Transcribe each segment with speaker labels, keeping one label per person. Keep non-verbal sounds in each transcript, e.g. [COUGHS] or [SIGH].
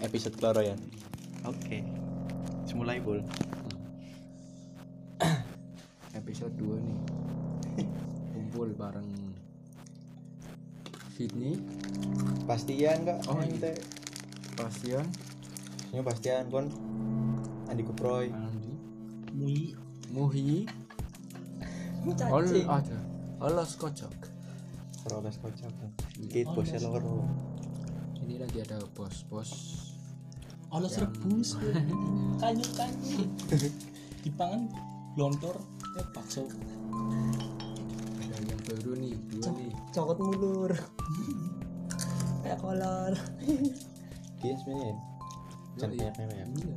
Speaker 1: episode Kloro ya.
Speaker 2: Oke. Semulai bul.
Speaker 3: episode 2 nih [LAUGHS] kumpul bareng Sydney
Speaker 1: Pastian kak.
Speaker 3: Oh, iya.
Speaker 1: ente.
Speaker 3: Pasien
Speaker 1: Ini pastian kon. Andi Kuproy.
Speaker 3: Andi
Speaker 2: Mui.
Speaker 3: Muhi Ol ada Olos kocok
Speaker 1: Roles kocok. Kit bosnya loro.
Speaker 3: ini lagi ada bos-bos
Speaker 4: Olos rebus [LAUGHS] kayu-kayu dipangan kan, lontor ya bakso
Speaker 3: ada yang baru nih dua nih
Speaker 4: cokot mulur Hmm. kayak kolor
Speaker 1: Dia sebenarnya. ya? Jangan
Speaker 3: Yoi.
Speaker 1: banyak meme ya.
Speaker 3: Iya.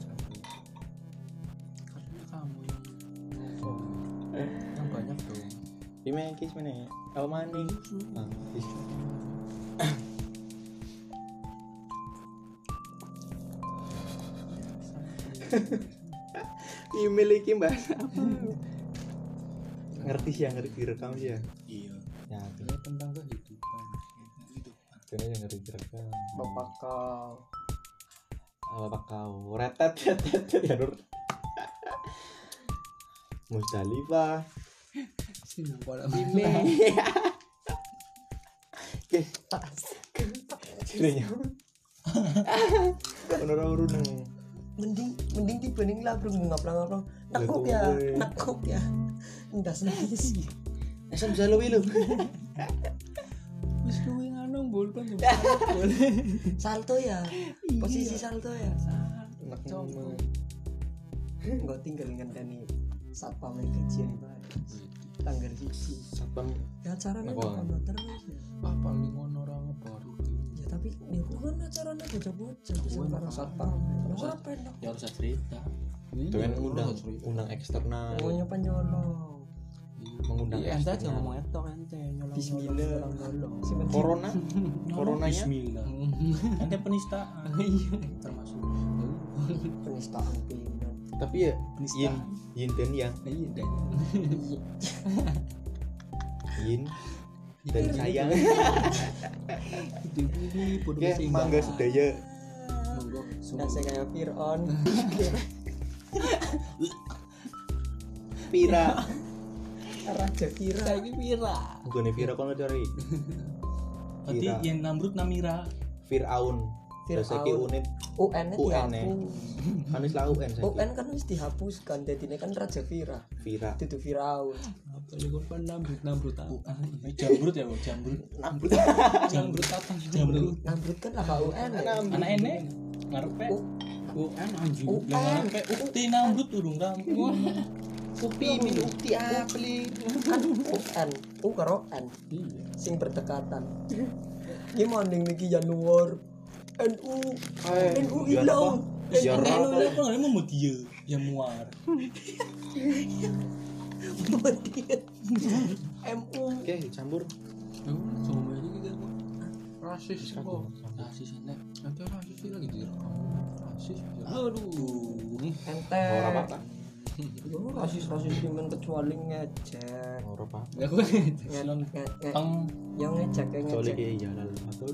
Speaker 3: Satu. Karena kamu yang ngomong. yang banyak dong
Speaker 1: Ini yang kis mana? Aku ya? mani. Ah, kis. Email iki bahas apa? ngerti sih ya, ngerti direkam sih ya.
Speaker 4: iya
Speaker 1: Ya,
Speaker 3: ini tentang kehidupan
Speaker 1: kayaknya yang ngerti direkam.
Speaker 4: bapak kau
Speaker 1: Ah, bapak kau retet retet retet, ya Nur. Musdalifah.
Speaker 3: sih nampak
Speaker 1: Guys, Jadinya. Bener urun.
Speaker 5: mending mending dibanding labrung ngaplang ngaplang nekuk ya
Speaker 1: Lekuk.
Speaker 5: nekuk ya ndas nangis
Speaker 1: Asam jalowi lu.
Speaker 4: wis luwe ngono bul kan
Speaker 5: salto ya posisi salto ya
Speaker 1: Enak
Speaker 5: Cuma. nggak tinggal ngenteni satpam yang gajian bae tanggal siji
Speaker 1: Satpam
Speaker 5: ya acaranya
Speaker 1: Apa?
Speaker 5: apa terus ya
Speaker 3: Wah, paling ngono orang ngebar itu
Speaker 5: ya tapi ya aku kan acaranya bocah-bocah terus
Speaker 3: Iya,
Speaker 5: karo
Speaker 3: makanya.
Speaker 5: satpam lu ngapain dong
Speaker 4: ya harus cerita
Speaker 3: Iya,
Speaker 1: dengan
Speaker 3: orang
Speaker 1: kan undang
Speaker 3: nggak cerita.
Speaker 1: undang eksternal
Speaker 5: mau nyopan nyolong
Speaker 1: mengundang
Speaker 3: Iya, ente aja
Speaker 1: eksternal.
Speaker 3: ngomong etok ente nyolong
Speaker 1: Bismillah.
Speaker 3: nyolong
Speaker 5: Simpen-
Speaker 1: Corona Coronanya?
Speaker 4: bismillah nanti penistaan
Speaker 3: Iya.
Speaker 4: termasuk
Speaker 5: penistaan pilihan
Speaker 1: tapi ya yin
Speaker 4: penistaan
Speaker 1: yin dan yang
Speaker 3: Iya, dan
Speaker 1: yin
Speaker 3: Iya.
Speaker 1: dan sayang.
Speaker 3: itu ini bodoh
Speaker 1: Oke, mangga
Speaker 3: Iya.
Speaker 1: sedaya.
Speaker 3: monggo
Speaker 5: nah saya kayak Fir'aun
Speaker 3: [LAUGHS]
Speaker 1: Pira.
Speaker 5: Raja Kira
Speaker 3: lagi pira
Speaker 1: Bukannya Vira kon cari.
Speaker 4: berarti
Speaker 1: Kira.
Speaker 4: yang namrud namira
Speaker 1: Firaun. Bahasa ki
Speaker 5: Fir'aun.
Speaker 1: unit
Speaker 5: UN nya
Speaker 1: UN -nya. kan
Speaker 5: dihapus
Speaker 1: wis lau en saiki.
Speaker 5: UN kan harus dihapuskan jadi ini kan Raja Fira
Speaker 1: Vira.
Speaker 5: itu Firaun
Speaker 3: apa yang kau pernah nambrut nambrut aku
Speaker 4: Eh, jambrut ya Bu, jambrut
Speaker 1: Nambut.
Speaker 4: jambrut apa jambrut
Speaker 5: Namrud kan apa UN ya
Speaker 4: anak enek ngarepe
Speaker 3: UN anjing
Speaker 4: Lah ngarepe ukti namrud urung rampung
Speaker 1: Kopi minum ukti apli.
Speaker 5: kan UN U karo N
Speaker 3: Iya.
Speaker 5: sing berdekatan gimana nih lagi Januar NU NU
Speaker 1: biar apa? Ya,
Speaker 5: hilang
Speaker 1: Biar
Speaker 5: NU
Speaker 1: apa?
Speaker 4: Kalau kalau mau mau dia yang muar
Speaker 5: mati. MU
Speaker 1: Oke, dicampur.
Speaker 3: sama ini kita
Speaker 4: kan,
Speaker 3: kok rasis
Speaker 1: Oh,
Speaker 3: kok
Speaker 4: kasih sana
Speaker 3: nanti rasis sih lagi direkam rasis aduh
Speaker 4: [LAUGHS]
Speaker 5: ente
Speaker 1: Ora apa-apa.
Speaker 5: Yo, rasis rasis cuman kecuali ngecek
Speaker 1: Ora apa.
Speaker 3: ya
Speaker 4: kan
Speaker 3: kok
Speaker 4: [LAUGHS] Silon
Speaker 5: Nge- nge-
Speaker 4: teng
Speaker 5: yang ngecek yang
Speaker 1: Kecuali
Speaker 5: ngecek
Speaker 1: ki jalan atau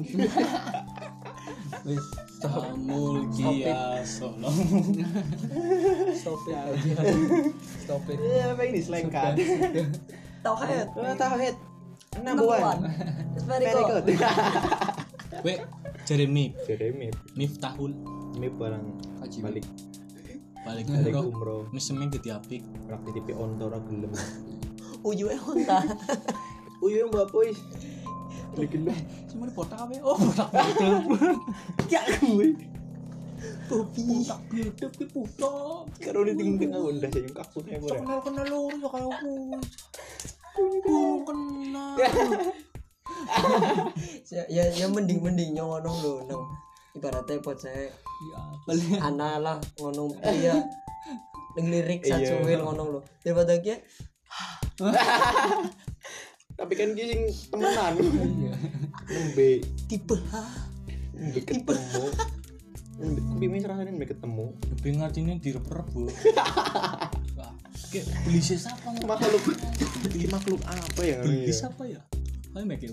Speaker 3: wis
Speaker 4: Samul Kia [LAUGHS] Solo
Speaker 5: stop it aja
Speaker 3: stop it
Speaker 1: Ya, [LAUGHS] apa ini selengkat?
Speaker 5: tauhid
Speaker 1: Tauhid. Enam
Speaker 5: bulan
Speaker 1: bulan.
Speaker 5: very good
Speaker 4: We jare Mif
Speaker 1: Jeremy,
Speaker 4: Mif tahun
Speaker 1: ini barang
Speaker 3: kaji
Speaker 1: balik
Speaker 4: balik
Speaker 1: balik
Speaker 4: umroh
Speaker 1: umroh.
Speaker 4: Mesem gede apik
Speaker 1: Rak di tipe ontor ora gelem.
Speaker 5: uyu eh honda
Speaker 1: Uyu mbak puis.
Speaker 4: Cuma di Eh, botak apa ya? Oh [LAUGHS] botak botak
Speaker 1: [LAUGHS] Ya gue.
Speaker 5: kopi
Speaker 4: Botak gede ki botak
Speaker 1: [LAUGHS] Karo di tim tengah udah saya yang kaku teh
Speaker 4: Cok
Speaker 1: ora.
Speaker 4: kenal kenal lu ya kayak aku Aku kenal
Speaker 5: ya ya, ya mending mending nyono lho nang ibaratnya pocek
Speaker 4: Ya balik
Speaker 5: ana lah ngono ya ning lirik
Speaker 1: Iya.
Speaker 5: sajuwe ngono lho daripada ki
Speaker 1: Tapi kan ki sing [LAUGHS] temenan.
Speaker 3: iya
Speaker 1: Nembe
Speaker 5: tipe ha
Speaker 1: nembe ketemu. Nembe kopi mis rasane nembe ketemu.
Speaker 4: Lebih ngartinya direp-rep bu Wah, Kayak beli sis apa
Speaker 1: Makhluk makhluk apa ya? Iya,
Speaker 4: Beli sis apa ya? Kayak make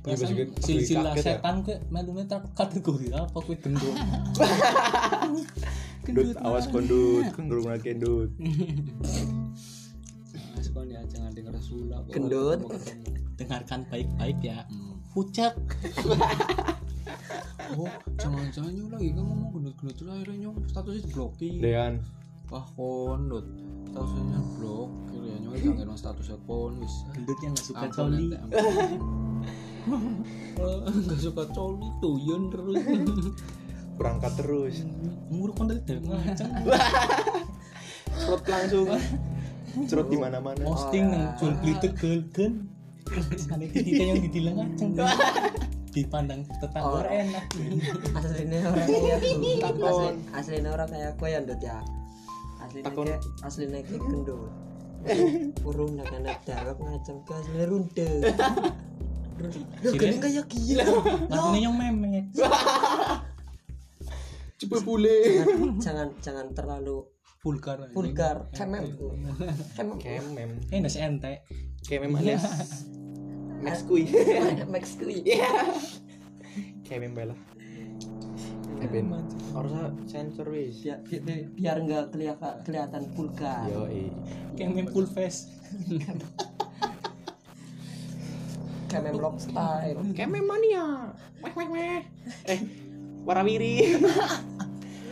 Speaker 4: Perasaan
Speaker 1: juga- aku
Speaker 4: silsilah
Speaker 1: kaget ya.
Speaker 4: setan kok melune tak kategori apa kowe
Speaker 1: [LAUGHS]
Speaker 4: gendut.
Speaker 1: Dut, awas kondut, kendor ngake dut.
Speaker 4: Awas kon ya jangan denger sulap.
Speaker 5: Gendut.
Speaker 1: Iya.
Speaker 4: Dengarkan baik-baik ya. Pucet.
Speaker 3: oh jangan-jangan yuk lagi kan ngomong gendut-gendut lah akhirnya nyong statusnya diblokir
Speaker 1: Dean,
Speaker 3: wah kondut statusnya blokir ya nyong gak ngerti statusnya kon wis
Speaker 4: Gendut yang gak suka
Speaker 3: Ampun,
Speaker 4: coli. Oh,
Speaker 3: ente,
Speaker 4: [LAUGHS]
Speaker 3: ampun. Eh, nggak suka coli doyan terus
Speaker 1: berangkat terus.
Speaker 4: Nguruk kon dari dalam ngaceng.
Speaker 1: Cerot langsung. Cerot di mana-mana.
Speaker 4: Posting nang jual beli tegel kan. Kali kita yang didilang ngaceng. kan. Dipandang tetangga
Speaker 5: Orang.
Speaker 4: enak.
Speaker 5: aslinya orang kayak
Speaker 1: [LAUGHS]
Speaker 5: aku
Speaker 1: Takon.
Speaker 5: Asli- aslinya orang kayak aku ya Dut ya aslinya
Speaker 1: Takon.
Speaker 5: kayak aslinya kayak gendut
Speaker 1: [LAUGHS]
Speaker 5: kurung nak anak jawab ngacem ke aslinya runde
Speaker 1: [LAUGHS]
Speaker 5: lu
Speaker 4: Sini.
Speaker 5: gini Nah, kayak gila
Speaker 4: Langsung yang memek.
Speaker 1: Cepet boleh.
Speaker 5: Jangan- jangan jangan terlalu
Speaker 3: vulgar aja.
Speaker 5: vulgar kemen kemen
Speaker 1: Kemem,
Speaker 4: Eh nasi ente.
Speaker 1: kemem anes. Max kui.
Speaker 5: Max kui
Speaker 1: Kemem bela. Kemem. Harusnya sensor wis.
Speaker 5: biar bi- bi- biar nggak kelihatan kelihatan vulgar
Speaker 1: Yo i.
Speaker 4: Kayak meme full face.
Speaker 5: kemen vlog style
Speaker 1: Kemem mania. Weh weh weh. Eh, warawiri.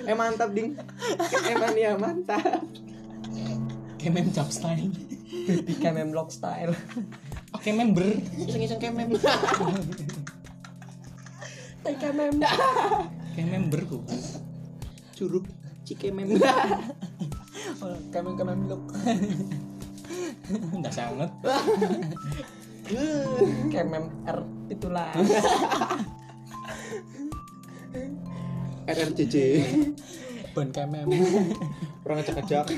Speaker 1: eh mantap ding. Kemem mania mantap.
Speaker 4: Kayak meme jump style.
Speaker 5: baby kemen vlog style
Speaker 4: Kayak meme ber.
Speaker 1: Iseng-iseng kemem.
Speaker 5: tai kemen
Speaker 4: Kayak meme ber kok.
Speaker 1: Curup
Speaker 4: [LAUGHS]
Speaker 1: cikemem.
Speaker 5: kemen kemen vlog
Speaker 4: Nggak sangat.
Speaker 5: kemen r itulah
Speaker 1: RRCC.
Speaker 4: Ban kayak
Speaker 1: Orang ngecek-ngecek.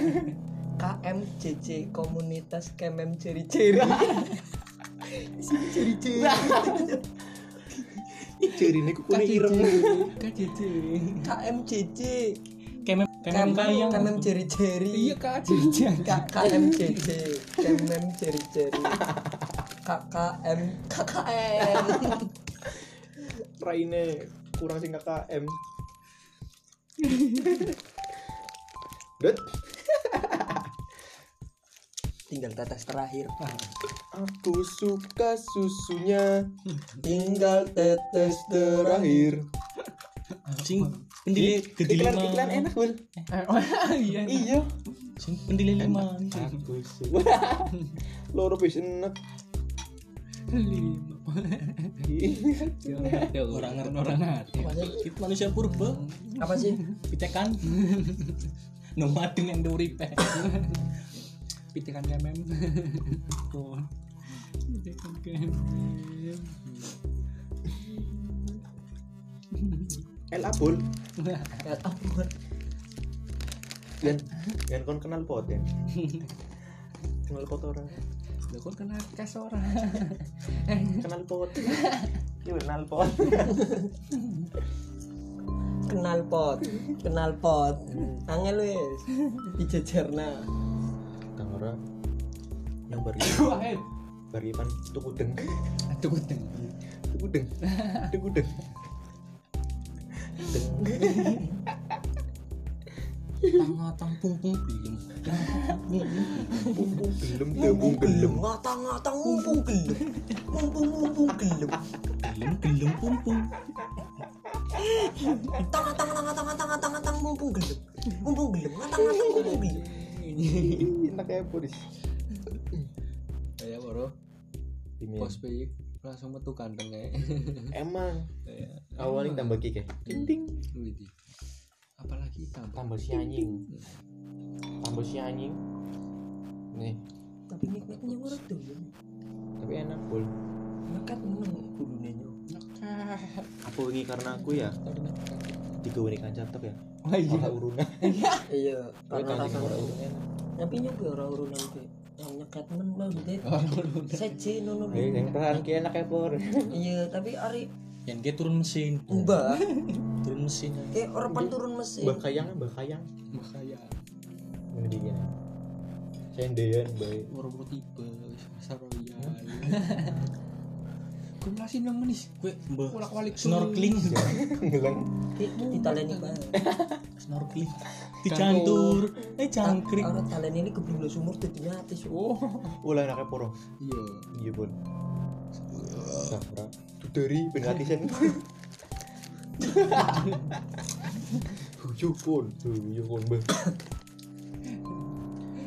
Speaker 5: KMJJ komunitas Kemem Ceri Ceri Ceri Ceri
Speaker 1: Ih, jerine kukune ireng.
Speaker 4: KCC.
Speaker 5: KMJJ
Speaker 4: gitu. Kayak meme kayak meme kayang.
Speaker 5: Kemem Ceri Ceri
Speaker 4: Iya KCC.
Speaker 5: K- KMJJ Kemem Ceri Ceri KKM KKM
Speaker 1: Raine kurang sing KKM. Dut,
Speaker 5: tinggal tetes terakhir
Speaker 4: Ah.
Speaker 1: aku suka susunya
Speaker 5: tinggal tetes
Speaker 1: terakhir.
Speaker 4: Sing pendile gede
Speaker 1: Iklan
Speaker 4: lima.
Speaker 1: iklan
Speaker 4: [LAUGHS]
Speaker 1: enak bul.
Speaker 4: Iya.
Speaker 1: Iya.
Speaker 4: Sing pendile lima.
Speaker 1: Aku suka. [LAUGHS] Loro wis enak.
Speaker 4: Ya orang ngerti orang ngerti. Kita manusia purba.
Speaker 5: apa sih
Speaker 4: Pite [LAUGHS] kan. Nomaden yang duripe. Pite kan kayak meme. Kon. Pite kan kayak meme.
Speaker 1: El abul.
Speaker 5: ya ampun
Speaker 1: Dan dan kon kenal pot [LAUGHS] ya. Kenal pot orang.
Speaker 4: Lah kon kena kes [LAUGHS] orang.
Speaker 1: Kenal [LAUGHS] pot. Iya, Kenal pot.
Speaker 5: kenal pot kenal pot angel wis dijejerna
Speaker 1: Tangora yang bari bari pan tuku deng.
Speaker 4: Aduh gudeng.
Speaker 1: Tuku deng. Tuku deng.
Speaker 4: Tang-tang pung-pung belum.
Speaker 1: Pumpu gelem tembung gelem.
Speaker 5: ngata-ngata mumpung gelem mumpung mumpung gelem
Speaker 4: Belum belum pung-pung.
Speaker 5: tang tang tang tang tang tang tang tang mumpung gelem mumpung gelem tang tang mumpung gelem
Speaker 1: Ih, Enak ya polis.
Speaker 3: ya bro
Speaker 1: Iya.
Speaker 3: bos pi langsung metu ganteng ya
Speaker 1: Emang awalnya tambah ya. kike. Ding
Speaker 3: Widih. apalagi tambah
Speaker 1: tambah si anjing. Tambah si anjing. Nih,
Speaker 5: tapi nikmatnya ngurut tuh ya
Speaker 1: tapi enak bol.
Speaker 5: nekat meneng kulune yo
Speaker 1: Aku wingi karena aku ya tiga wingi kancap ya.
Speaker 4: Wah
Speaker 1: Ora
Speaker 4: iya.
Speaker 1: urunan.
Speaker 5: iya
Speaker 1: Ora
Speaker 4: kan,
Speaker 5: karena
Speaker 1: kancing ora
Speaker 5: rasanya
Speaker 1: urunan.
Speaker 5: tapi nyoba ora urunan kuwi yang nekat meneng deh seje nono
Speaker 1: Ayo
Speaker 4: Iya.
Speaker 1: yang peran ki enak ya por.
Speaker 5: iya tapi ari
Speaker 4: Yang dia turun mesin.
Speaker 5: mbah
Speaker 4: Turun mesin.
Speaker 5: eh orang pan turun mesin
Speaker 1: Mbah Kayang, Mbah Kayang.
Speaker 3: makanya
Speaker 1: Ngene iki. Sendean bae.
Speaker 4: ya.
Speaker 3: urung tipe wis saroyan
Speaker 4: gue melasi bilang manis gue
Speaker 3: Kulak walik
Speaker 4: snorkeling
Speaker 1: Ngeleng.
Speaker 5: Italian ini banget.
Speaker 4: snorkeling dicantur eh cangkrik
Speaker 5: Orang Italian ini kebunuh sumur tuh nyatis.
Speaker 1: Oh, ulah anaknya poro.
Speaker 3: Iya.
Speaker 1: Iya, Bon. Sapra. Tuh dari penati sen. Huyu pun, huyu pun be.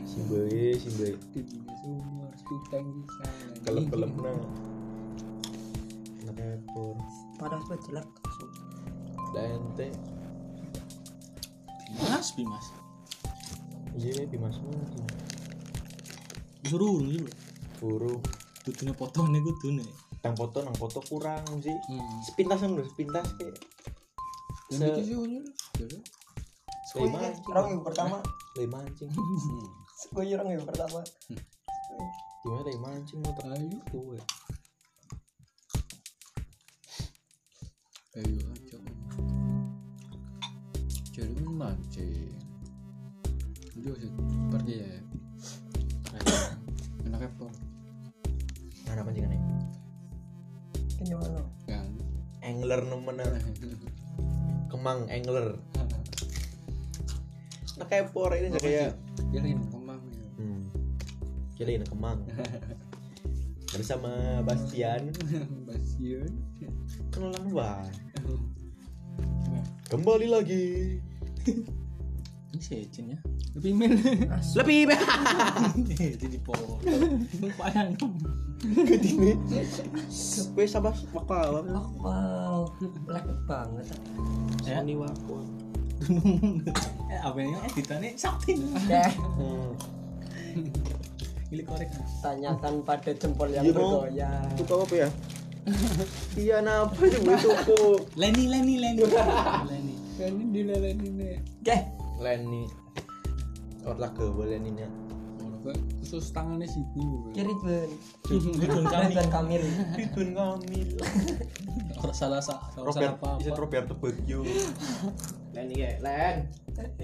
Speaker 1: Simbe, simbe.
Speaker 3: Kebunuh sumur, tukang bisa.
Speaker 1: Kelem-kelem nah. Anaknya poro.
Speaker 5: Padahal tuh jelek.
Speaker 1: Dan teh,
Speaker 4: mas bimas
Speaker 1: iya di mas
Speaker 4: disuruh urung dulu
Speaker 1: Poro.
Speaker 4: tutunya potong nih gue
Speaker 3: [LAUGHS]
Speaker 4: tuh nih
Speaker 1: Tang foto, nang foto kurang sih.
Speaker 4: hmm.
Speaker 1: Sepintas kan lho, sepintas kayak.
Speaker 3: Dan
Speaker 1: Se-
Speaker 3: itu sih unyu. Jadi,
Speaker 1: lima,
Speaker 5: Orang yang pertama,
Speaker 1: lima anjing. Hmm.
Speaker 5: gue orang yang pertama.
Speaker 1: Gimana lima anjing mau ya? tak
Speaker 3: Ayo,
Speaker 1: gue.
Speaker 3: ayo aja. Jadi kan mancing. Jadi usah pergi ya. Ayo. Enak apa?
Speaker 1: Mana pancingannya?
Speaker 5: Ini mana?
Speaker 3: Kan.
Speaker 1: Angler nemenan. Kemang angler. Nah kayak por ini kayak
Speaker 3: Yakin kemang ya.
Speaker 1: hmm. Kira ini Kemang. Bersama Bastian.
Speaker 3: Basian.
Speaker 1: Kenal lama banget. Kembali lagi.
Speaker 4: ini secen ya Eh,
Speaker 3: Lebih mil.
Speaker 1: Lebih
Speaker 4: [LAUGHS] jadi potong kepala
Speaker 1: ke sini. Wes sabas wakal.
Speaker 5: Wow, jelek banget.
Speaker 1: Sony wakal.
Speaker 4: [LAUGHS] eh apa ini editannya sakti
Speaker 5: Deh,
Speaker 1: Hmm.
Speaker 4: pilih korek
Speaker 5: tanyakan pada jempol yang
Speaker 1: Iya, Bang.
Speaker 5: bergoyang.
Speaker 1: Itu kau apa ya? Iya napa sih gue cukup.
Speaker 4: Leni Leni Leni
Speaker 3: [LAUGHS]
Speaker 4: Leni
Speaker 3: Kan ini dilalani nih.
Speaker 5: Deh,
Speaker 1: Lenny. Otak ke boleh nih
Speaker 3: Orang kan khusus tangannya sih ini.
Speaker 5: kiri ben.
Speaker 4: Ridwan Kamil
Speaker 5: Ben Kamil.
Speaker 1: Ridwan Kamil.
Speaker 4: orang salah sa- orang salah apa
Speaker 1: Isa
Speaker 4: apa
Speaker 1: Roberto Baggio. Len iki, Len.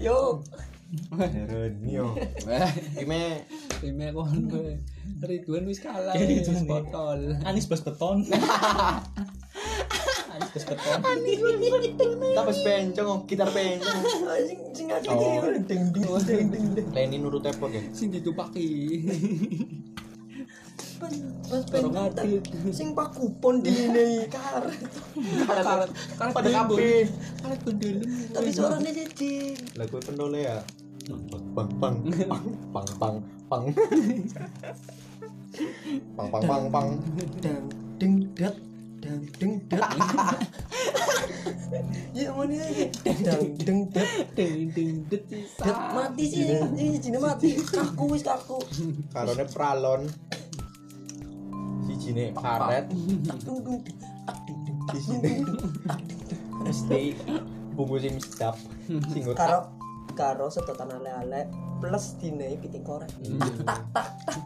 Speaker 5: Yo,
Speaker 1: Renio.
Speaker 3: Wah,
Speaker 1: Ime
Speaker 3: timnya kon. weh. Ridwan wis kalah.
Speaker 4: Iya,
Speaker 3: wis
Speaker 4: Ridwan, iya. [LAUGHS]
Speaker 3: botol.
Speaker 4: Anis bas beton Anis bas beton
Speaker 1: tapi pencong, gitar pencong.
Speaker 5: anjing sing aja
Speaker 1: Oh.
Speaker 5: ding ding ding ding ding.
Speaker 1: Len ini nurut tepok ya.
Speaker 3: Sing ditupaki.
Speaker 5: Pas pas ben
Speaker 3: Orang
Speaker 5: kita- sing pak kupon di ini karet.
Speaker 3: Karet karet
Speaker 1: Pada
Speaker 3: dulem.
Speaker 1: kabeh.
Speaker 3: Karet kudulem.
Speaker 5: Tapi suaranya jadi
Speaker 1: Lah gue pendole ya. Pang pang pang pang pang pang. Pang pang pang pang.
Speaker 5: dang ding dat dang ding [LAUGHS] dat. Ya mana ya? Dang ding Iya. dat
Speaker 3: ding ding det
Speaker 5: dat mati sih. Ini jenenge mati. Kaku wis kaku.
Speaker 1: Karone pralon. Sijine karet,
Speaker 5: Tak dung dung dung. tak dung dung tak dung
Speaker 1: sijine
Speaker 5: dung.
Speaker 1: mesti bumbu sing sedap. Sing
Speaker 5: Karo karo sedotan ale-ale plus dine piting korek. Tak tak tak.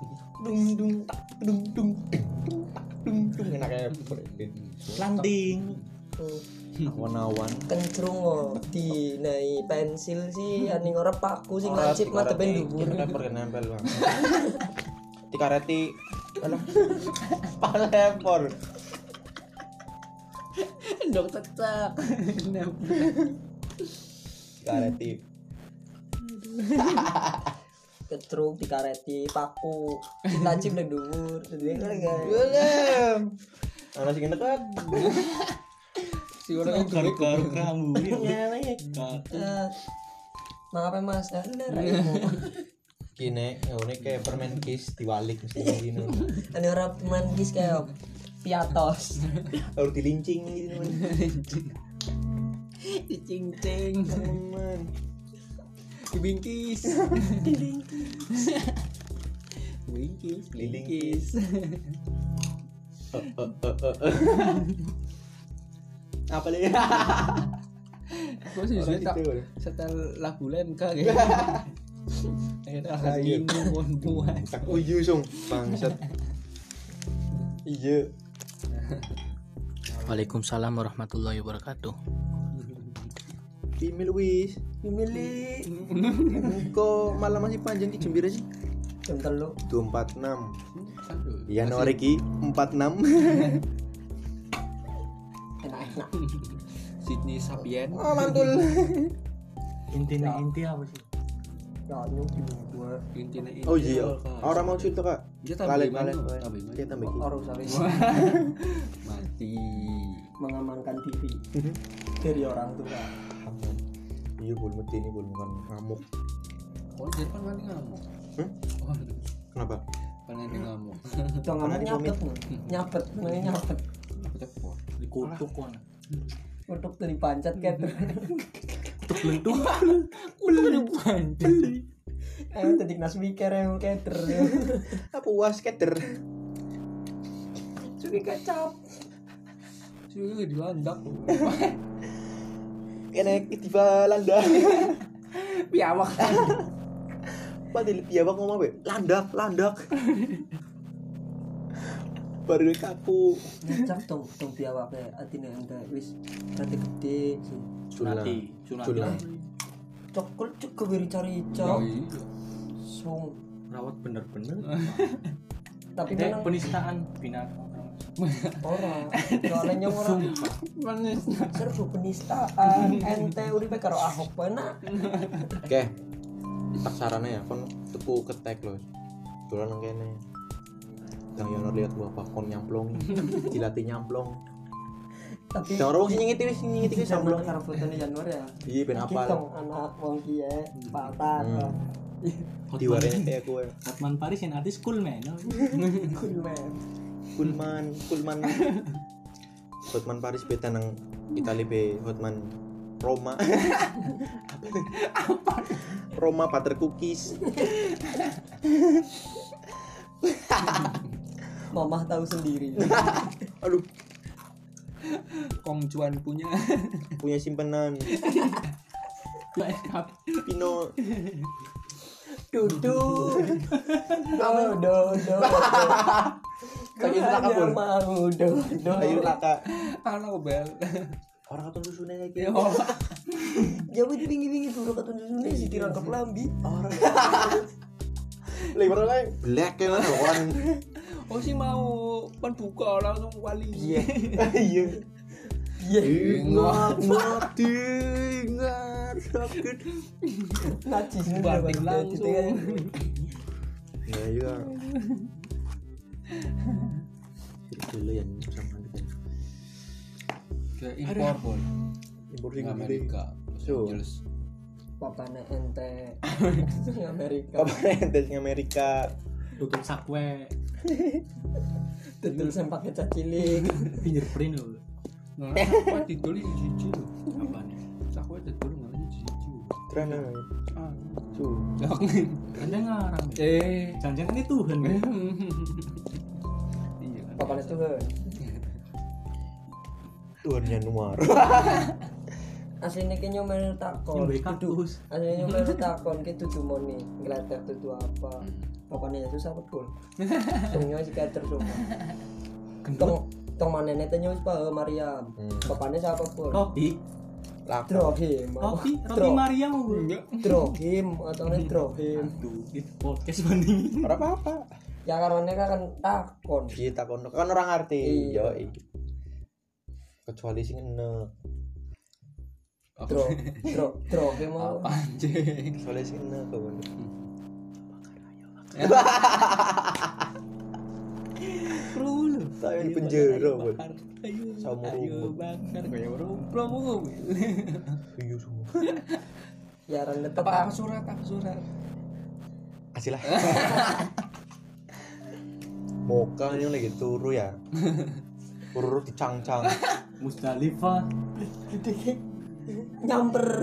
Speaker 5: Dung dung tak dung dung.
Speaker 1: dung dung enaknya berendin.
Speaker 4: landing
Speaker 5: Tuh.
Speaker 1: awan-awan
Speaker 5: kencrung oh dinai pensil sih ani ngorep paku sing
Speaker 1: Alat
Speaker 5: lancip
Speaker 1: dikareti,
Speaker 5: matepen dhuwur
Speaker 1: kira-kira pernah kan nempel bang [LAUGHS] dikareti alah palepor
Speaker 3: dok tetap
Speaker 1: dikareti
Speaker 5: ketruk dikareti paku lancip nang dhuwur Jadi, kan,
Speaker 1: belum anak sing dekat
Speaker 3: si orang
Speaker 4: orang
Speaker 3: yang
Speaker 4: garuk garuk rambu
Speaker 5: eh, maaf ya mas nah, ini raimu
Speaker 1: kini ya, ini kayak permen kis diwalik [LAUGHS] mesti gini
Speaker 5: ini orang manis kayak piatos
Speaker 1: harus dilincing gitu man.
Speaker 3: cing cing
Speaker 1: teman
Speaker 3: dibingkis bingkis bingkis
Speaker 1: Eh, eh, eh, eh, eh. apa lagi
Speaker 3: gue sih
Speaker 1: Orang
Speaker 3: sudah tak
Speaker 1: itu, ya.
Speaker 3: setel lagu lenka
Speaker 4: gitu.
Speaker 3: kayak akhirnya lagi ini pun buat
Speaker 1: tak uyu sung bangsat iya
Speaker 6: Waalaikumsalam warahmatullahi wabarakatuh.
Speaker 1: Timil wis Timili Kok malah masih panjang di jembira sih
Speaker 5: jam telu
Speaker 1: 246 Iya,
Speaker 3: Aduh. [LAUGHS]
Speaker 1: Januari ki 46
Speaker 5: enak-enak.
Speaker 3: Sydney Sapien
Speaker 1: Oh, mantul.
Speaker 2: Intinya inti apa sih?
Speaker 5: Ya, nyuki gue.
Speaker 3: intinya ini
Speaker 1: Oh iya. Orang mau cerita kak?
Speaker 3: dia
Speaker 1: Kalian
Speaker 3: tambah Oh.
Speaker 1: kalian.
Speaker 3: iman
Speaker 1: Dia tambah iman.
Speaker 5: Harus harus
Speaker 3: mati
Speaker 5: mengamankan diri dari orang tua.
Speaker 1: Iya bul mati ini bul bukan ngamuk.
Speaker 3: oh Jerman nanti ngamuk
Speaker 1: Hmm?
Speaker 3: oh
Speaker 1: Kenapa?
Speaker 3: pengen dia ngamuk
Speaker 5: Jangan
Speaker 1: Karena
Speaker 5: ngomong
Speaker 1: di
Speaker 5: nyapet, nyapet, namanya nyapet.
Speaker 3: Aku tepuk.
Speaker 4: Dikutuk kan.
Speaker 5: Untuk dari pancat kayak tuh.
Speaker 4: Belentuk.
Speaker 5: Eh, tadi nas mikir yang kayak ter.
Speaker 1: Apa uas skater?
Speaker 5: Cuki kecap.
Speaker 3: Sudah dilandak
Speaker 1: Enak tiba
Speaker 3: [LAUGHS]
Speaker 1: landak.
Speaker 5: Piawak.
Speaker 1: Padahal dia bang ngomong apa? ya? Landak,
Speaker 3: [LAUGHS]
Speaker 1: landak. Baru dia kaku.
Speaker 5: Ngecap dong, dong piawak ya. Hati nih anda wis nanti gede. sih.
Speaker 1: Sunati. Sunati.
Speaker 5: Cokol cukup beri cari
Speaker 3: oh
Speaker 5: cok.
Speaker 3: iya
Speaker 5: Sung.
Speaker 2: Rawat bener-bener.
Speaker 5: [LAUGHS] Tapi
Speaker 2: Ini
Speaker 5: tenang
Speaker 2: penistaan binatang. [LAUGHS]
Speaker 5: orang. Soalnya nyong orang serbu penistaan. Ente uripe karo ahok benar.
Speaker 1: Oke. Tak sarannya ya, kon tuku ketek loh. Dolan nang kene. Dang Yono lihat bapak kon nyamplong, dilatih nyamplong.
Speaker 5: Tapi
Speaker 1: Jangan orang sing nyengiti wis nyengiti wis
Speaker 5: Jangan
Speaker 1: nyamplong.
Speaker 5: karo fotonya Januar ya.
Speaker 1: Iya ben
Speaker 5: Iki
Speaker 1: apal.
Speaker 5: dong anak wong kiye patah.
Speaker 2: [LAUGHS]
Speaker 1: Hmm. Diwarenya kayak gue.
Speaker 4: Hotman Paris yang artis cool man.
Speaker 5: Kulmen.
Speaker 1: Kulman, Kulman. Hotman Paris beta nang Itali be Hotman Roma. Apa? Roma butter cookies.
Speaker 5: Mamah tahu
Speaker 1: [LAUGHS]
Speaker 5: sendiri.
Speaker 1: Aduh,
Speaker 3: Kong Juan
Speaker 4: [LAUGHS]
Speaker 3: punya
Speaker 1: punya simpenan. Pino
Speaker 5: Dudu. Kamu do
Speaker 1: [LAUGHS]
Speaker 5: do.
Speaker 1: Kayu laka, Bun.
Speaker 5: mau do do.
Speaker 1: kayu laka.
Speaker 3: Halo Bel
Speaker 1: Orang katun susunnya kayak
Speaker 3: Ah, Ya
Speaker 1: gitu.
Speaker 5: Jauh di pinggir-pinggir dulu katun susunnya sih tirang ke pelambi.
Speaker 1: Orang. Lebar lah, black ya lah orang.
Speaker 3: Oh sih mau penduka langsung wali
Speaker 1: Iya. Iya.
Speaker 5: Iya,
Speaker 1: Ingat mati ingat sakit.
Speaker 5: Ngaji
Speaker 3: Batik
Speaker 5: baru
Speaker 3: langsung.
Speaker 5: gitu kan.
Speaker 1: Ya iya. Dulu yang sama gitu. kita.
Speaker 3: Ke impor bol
Speaker 1: Impor
Speaker 3: Ke
Speaker 1: sing gede.
Speaker 3: Amerika Los
Speaker 1: Tuh.
Speaker 3: Angeles
Speaker 5: Papane ente. Amerika.
Speaker 1: Kapan tes Amerika?
Speaker 4: Tutup sakwe.
Speaker 5: Tutul sem pakai cacilik.
Speaker 4: Fingerprint loh.
Speaker 3: Nah, [LAUGHS] aku tidur di jiji loh
Speaker 4: Apa nih?
Speaker 3: Aku tidur malah di jiji
Speaker 1: Terana.
Speaker 4: Ah.
Speaker 1: Tuh.
Speaker 3: Cok
Speaker 4: Anda ngarang. ya?
Speaker 3: Eh
Speaker 4: Jangan-jangan ini Tuhan
Speaker 3: [LAUGHS]
Speaker 4: kan?
Speaker 3: Iya kan
Speaker 5: Papane tuh.
Speaker 1: Tuan Januar.
Speaker 5: Aslinya kayaknya main takon.
Speaker 4: Nyembelih
Speaker 5: Duduk.
Speaker 4: kaktus.
Speaker 5: Akhirnya baru takon gitu, ke tutu moni ngelatar tutu apa Pokoknya itu sama pun Semuanya sih kater semua Tong Tong mana nenek tanya wis paham Mariam
Speaker 1: Hmm.
Speaker 5: Bapaknya siapa pun
Speaker 4: Roti.
Speaker 1: Laka.
Speaker 5: Drohim
Speaker 3: Ah,
Speaker 5: apa?
Speaker 4: Roti. Roti
Speaker 5: Dro-
Speaker 4: Mariam. Enggak.
Speaker 5: Drohim atau nih Drohim
Speaker 4: Aduh, itu podcast banding.
Speaker 1: Ora apa-apa.
Speaker 5: Ya karena kan kan takon
Speaker 1: Kita kono kan orang ngerti.
Speaker 5: Iya.
Speaker 1: Yo. Kecuali sing enek.
Speaker 5: Dro Dro Drohim apa?
Speaker 3: Apa anjing
Speaker 1: Kecuali sing enek kawan.
Speaker 3: Kru lu
Speaker 1: Saya di penjara, Bol.
Speaker 3: Ayo
Speaker 1: Sama
Speaker 3: Ayo
Speaker 1: rumput.
Speaker 3: bakar Kayak rumput mau
Speaker 1: Iya semua.
Speaker 5: Ya karena
Speaker 3: Apa
Speaker 5: tetap
Speaker 3: aku surat aku surat
Speaker 1: Kasih lah. Moka ini lagi turu ya. Turu dicang-cang.
Speaker 4: Musdalifah.
Speaker 5: nyamper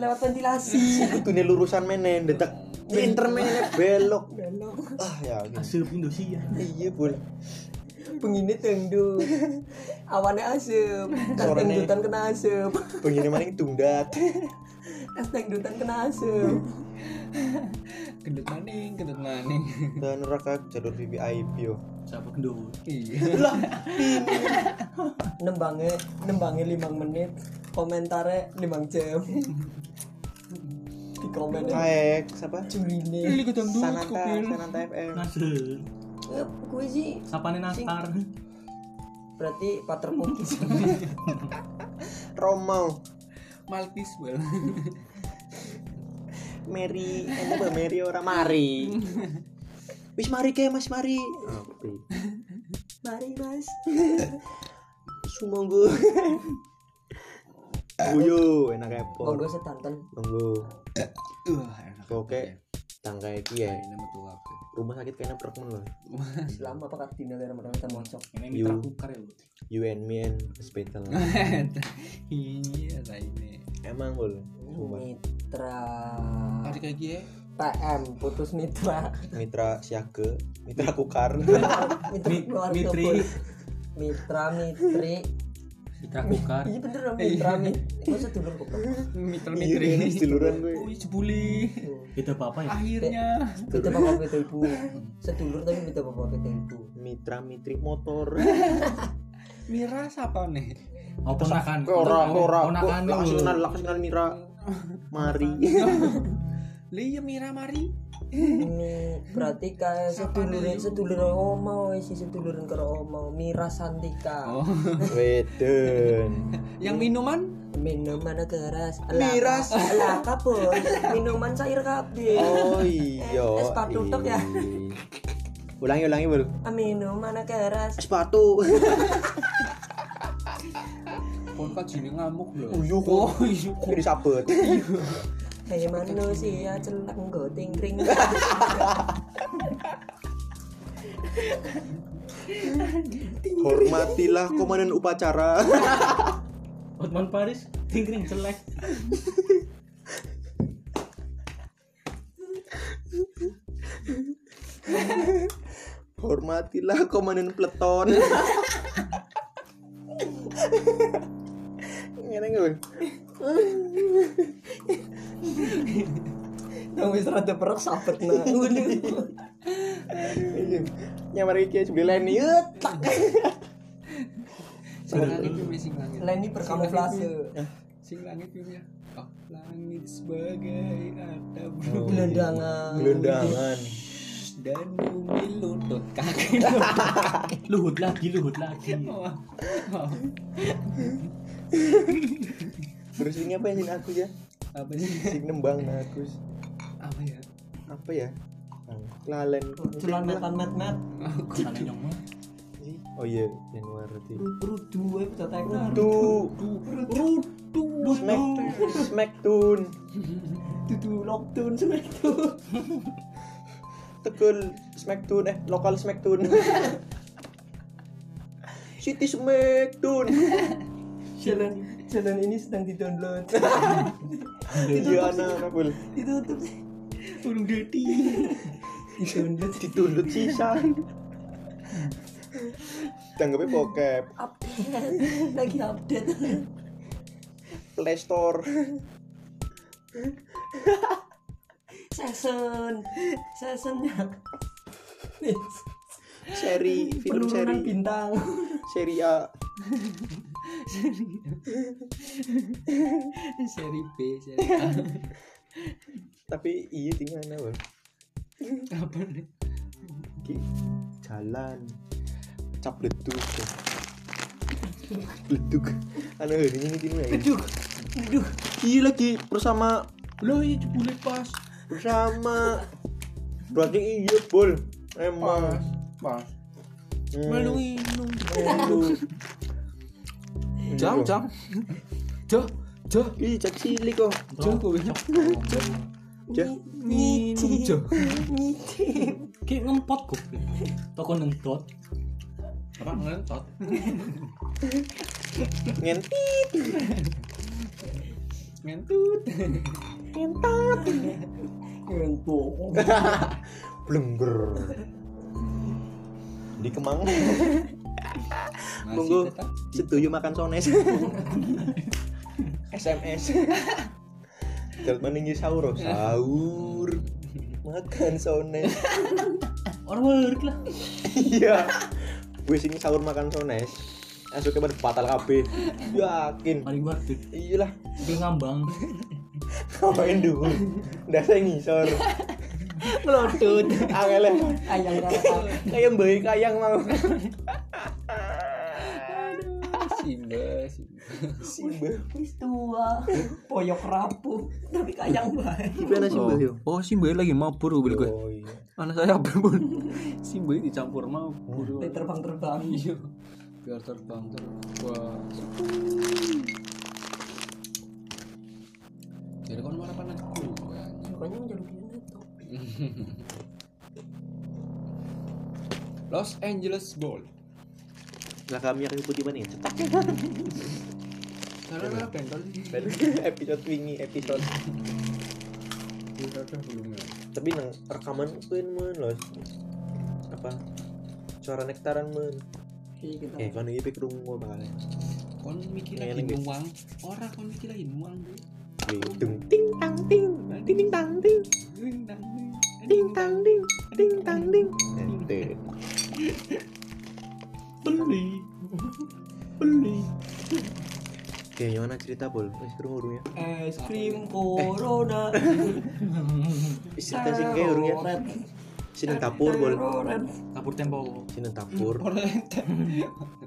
Speaker 5: Lewat ventilasi
Speaker 1: Kudunya lurusan menen detak. Pinter menen belok.
Speaker 5: Belok
Speaker 1: Ah ya. gini.
Speaker 4: Asup Indonesia.
Speaker 1: Iya bul.
Speaker 5: Penginit tengdut Awannya asep Kas
Speaker 1: Suaranya-
Speaker 5: tengdutan kena asep
Speaker 1: Begini maning tungdat.
Speaker 5: Es dangdutan kena asem.
Speaker 3: Gendut maning Gendut maning
Speaker 1: Dan neraka jalur VVIP yo.
Speaker 4: Siapa gendut?
Speaker 3: Iya
Speaker 5: Nembangnya, nembangnya limang menit. Komentarnya limang jam. Di komen
Speaker 1: Kaek siapa?
Speaker 5: jurine.
Speaker 3: Ini gedung dulu
Speaker 1: Sananta,
Speaker 3: Kopil
Speaker 1: Sananta FM.
Speaker 4: Nasr.
Speaker 5: Eh, Gue sih
Speaker 4: Sapane Nasar.
Speaker 5: berarti
Speaker 3: [LAUGHS]
Speaker 5: pater mungkin
Speaker 1: Romo
Speaker 3: Maltis well.
Speaker 1: Mary ini bah Mary ora mari wis mari ke mas mari Oke. mari mas sumonggo [LAUGHS] guyu enak
Speaker 5: oh
Speaker 1: epon
Speaker 5: gue setanten
Speaker 1: monggo
Speaker 4: Wah, enak.
Speaker 1: oke tangga iki ya
Speaker 4: Ini metu aku.
Speaker 1: rumah sakit kayaknya perkmen loh
Speaker 5: Islam apa kardinal dari mereka kita mocok
Speaker 3: Ini
Speaker 1: You.
Speaker 3: mitra kukar ya. Bu.
Speaker 1: you and me and [LAUGHS] hospital
Speaker 3: Iya, saya ini.
Speaker 1: emang boleh Sumpah.
Speaker 5: mitra
Speaker 2: Ah.
Speaker 3: Hari kayak gini ya.
Speaker 5: PM putus mitra
Speaker 1: mitra siaga mitra kukar [LAUGHS]
Speaker 5: mitra
Speaker 2: Mi-
Speaker 5: keluarga
Speaker 2: mitri.
Speaker 5: Boy. mitra mitri
Speaker 2: Mitra kukar.
Speaker 5: iya bener dong mitra mitri gue sedulur kok
Speaker 3: Mitra
Speaker 1: Iya,
Speaker 3: mitri.
Speaker 1: ini seduluran gue.
Speaker 3: Wih, jebuli.
Speaker 2: Itu apa ya?
Speaker 3: Oh, iya, Akhirnya.
Speaker 5: beda bapak beda ibu sedulur tapi beda bapak beda ibu
Speaker 1: mitra mitri motor
Speaker 3: Mira siapa
Speaker 2: [LAUGHS]
Speaker 3: nih?
Speaker 2: Oh, ponakan.
Speaker 1: Ke ora ke ora
Speaker 2: Ponakan lu.
Speaker 1: langsung kenal langsung kenal mitra mari [LAUGHS]
Speaker 3: Liya iya, Mira Mari.
Speaker 5: ini berarti kayak sedulur sedulur oma isi seduluran karo oma Mira Santika
Speaker 1: Weden.
Speaker 3: Yang minuman?
Speaker 5: minuman keras miras lah kapur minuman cair kabeh
Speaker 1: Oh iya.
Speaker 5: Es patu tok ya.
Speaker 1: Ih. Ulangi ulangi bro.
Speaker 5: minuman keras
Speaker 1: Sepatu.
Speaker 3: Kon kok jine ngamuk lho.
Speaker 1: Uyuh.
Speaker 3: Oh, uyuh.
Speaker 1: Ini sabet.
Speaker 5: [LAUGHS] hei manusia celak goting [LAUGHS] kring
Speaker 1: Hormatilah komandan upacara.
Speaker 2: Otman Paris, tingkring jelek.
Speaker 1: Hormatilah komandan peleton. Ngene nggak, Bro?
Speaker 5: yang wis rada perut sabet [LAUGHS] nah
Speaker 1: Iya. Nyamar iki sebelah Leni. Yut, tak.
Speaker 3: Sing langit piye sing langit.
Speaker 5: Lenny berkamuflase
Speaker 3: Sing langit piye? Oh, langit sebagai atap
Speaker 5: gelandangan
Speaker 1: Gelendangan.
Speaker 3: dan bumi lutut kaki.
Speaker 2: [LAUGHS] Luhut lagi, luhut lagi.
Speaker 3: Wah. Wah.
Speaker 1: Terus ini apa yang aku ya?
Speaker 3: Apa sih?
Speaker 1: Sing nembang aku.
Speaker 3: Apa ya?
Speaker 1: Apa ya? Lalen.
Speaker 5: celon metan met met
Speaker 2: Kutane nyong mah.
Speaker 1: Oh iya, Januari.
Speaker 5: rudu eh, wae bisa tekan
Speaker 1: Tuh.
Speaker 5: rudu
Speaker 1: Smack, Smackdown,
Speaker 5: dudu lockdown semek tuh
Speaker 1: Tegel, Smackdown, eh lokal Smackdown. [LAUGHS] City Smackdown,
Speaker 5: [LAUGHS] jalan jalan ini sedang [LAUGHS] didownload
Speaker 1: iya anak anak bul,
Speaker 5: ditutup
Speaker 3: Burung deti.
Speaker 5: [LAUGHS] didownload
Speaker 1: ditunduk sisa. Tanggapnya bokep,
Speaker 5: update lagi update
Speaker 1: Play Store,
Speaker 5: season seasonnya
Speaker 1: seri, film
Speaker 5: penurunan
Speaker 1: seri,
Speaker 5: bintang
Speaker 1: seri A,
Speaker 3: Seri B, seri A.
Speaker 1: tapi iya tinggal anak bul.
Speaker 3: Apa nih?
Speaker 1: Ki, jalan, cap leduk, leduk, anu ini gini ya.
Speaker 5: duh duh
Speaker 1: Iya lagi bersama
Speaker 3: Loh, iya jebule pas.
Speaker 1: sama berarti iya bol emang
Speaker 3: Pas.
Speaker 1: Hmm,
Speaker 3: Melalui nung.
Speaker 1: itu.
Speaker 3: Jam, jam. Jam, jam.
Speaker 1: ih cak cilik kok
Speaker 3: Jam, kowe. [LAUGHS]
Speaker 1: ya
Speaker 3: Minum jam.
Speaker 2: Ki ngempot kok. Toko nentot.
Speaker 4: Apa ngelentot?
Speaker 1: ngenti
Speaker 3: Ngentut.
Speaker 5: Ngentuk.
Speaker 1: [LAUGHS] blengger di kemang
Speaker 3: [LAUGHS] Masih
Speaker 1: monggo
Speaker 3: tetap
Speaker 1: setuju makan
Speaker 3: [LAUGHS]
Speaker 1: sones sms Jalan meninggi sahur, oh. sahur, makan sones,
Speaker 3: [LAUGHS]
Speaker 2: Orang work lah.
Speaker 1: iya, wis ini sahur makan sones, esoknya pada batal kabeh, yakin,
Speaker 2: Paling work tuh.
Speaker 1: iyalah, [LAUGHS]
Speaker 2: Ki ngambang.
Speaker 1: Ngapain dulu? Udah saya ngisor
Speaker 5: Melodot.
Speaker 1: Angel ya.
Speaker 5: Ayang rata.
Speaker 1: Kayak bayi kayang mau
Speaker 5: Wis tua, poyok rapuh, tapi kayang bae.
Speaker 6: Gimana sih Mbak yo? Oh, si Mbak lagi mabur gue gue.
Speaker 4: Oh iya.
Speaker 6: Anak saya Oh. apa pun. si Mbak dicampur mau.
Speaker 5: Lek
Speaker 3: Eh,
Speaker 5: terbang-terbang.
Speaker 3: Iya. Biar terbang terbang. Jadi kan mana panas cool ya.
Speaker 5: Makanya menjadi gini tuh.
Speaker 3: [LAUGHS] Los Angeles Bowl.
Speaker 1: Lah kami yang putih mana ya? Cetak.
Speaker 2: Iya,
Speaker 3: Karena bentol di
Speaker 1: episode wingi episode.
Speaker 2: ya?
Speaker 3: udah belumnya.
Speaker 1: Tapi nang rekaman kuin men loh. Apa? Suara nektaran men.
Speaker 5: Iya kita.
Speaker 1: Eh kan iki pikir gua bakalnya.
Speaker 3: Kon mikir
Speaker 2: Iya,
Speaker 1: Ngeleng,
Speaker 3: lagi
Speaker 1: guys.
Speaker 3: nuang. Ora kon mikir lagi nuang. Bro.
Speaker 1: Wih, Dung ting tang ting. Ting ting tang ting.
Speaker 3: Ding dang ding.
Speaker 1: Ting tang ding. Ting tang ding. Ente.
Speaker 3: Beli. Beli.
Speaker 1: Oke, gimana Eh, cerita bol? Wis urung urung ya.
Speaker 5: Es krim corona.
Speaker 1: Wis Eh, cerita sing kayak urung ya.
Speaker 5: Roret,
Speaker 1: Sini dapur bol.
Speaker 5: roret.
Speaker 2: Kabur tempo.
Speaker 1: Sini dapur.
Speaker 3: Ora ente.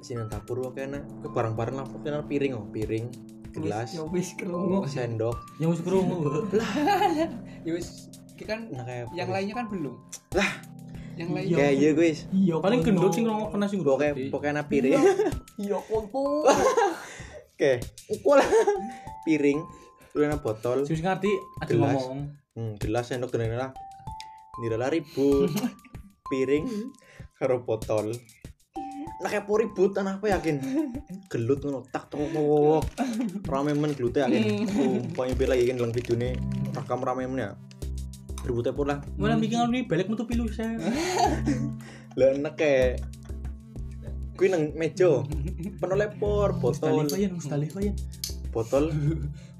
Speaker 1: Sini dapur wae kena barang-barang lah pokoknya piring oh, piring, gelas,
Speaker 5: Ya wis kerungu.
Speaker 1: sendok.
Speaker 2: Yang wis
Speaker 3: [LAUGHS]
Speaker 2: kerungu.
Speaker 3: Ya wis, ki kan
Speaker 1: Nah kayak
Speaker 3: yang lainnya kan belum.
Speaker 1: Lah.
Speaker 3: Yang lainnya
Speaker 1: Kayak iya guys.
Speaker 5: Iya
Speaker 2: Paling
Speaker 5: kono.
Speaker 2: gendut sing ngerokok kena sing
Speaker 1: Pokoknya
Speaker 2: ngerokok.
Speaker 1: pokoknya piring.
Speaker 5: Iya kono.
Speaker 1: [LAUGHS] Oke, ukul [LAUGHS] piring, tulen botol,
Speaker 2: Sing wis ngerti ada
Speaker 1: Gelas.
Speaker 2: ngomong.
Speaker 1: hmm, gelas sendok dan lain-lain lah. Nirala ribut, piring, karo botol. Nah kayak po ribut, anak apa yakin? Gelut ngono, tak tong wok. Rame men gelutnya yakin. Pokoknya bela yakin dalam video ini rekam rame men ya. Ributnya pun lah.
Speaker 2: Mana bikin ngono iki balik metu pilu saya.
Speaker 1: Lah enak kayak Kuwi nang meja, penuh lepor, botol,
Speaker 2: Stalif aja, stalif aja.
Speaker 1: botol.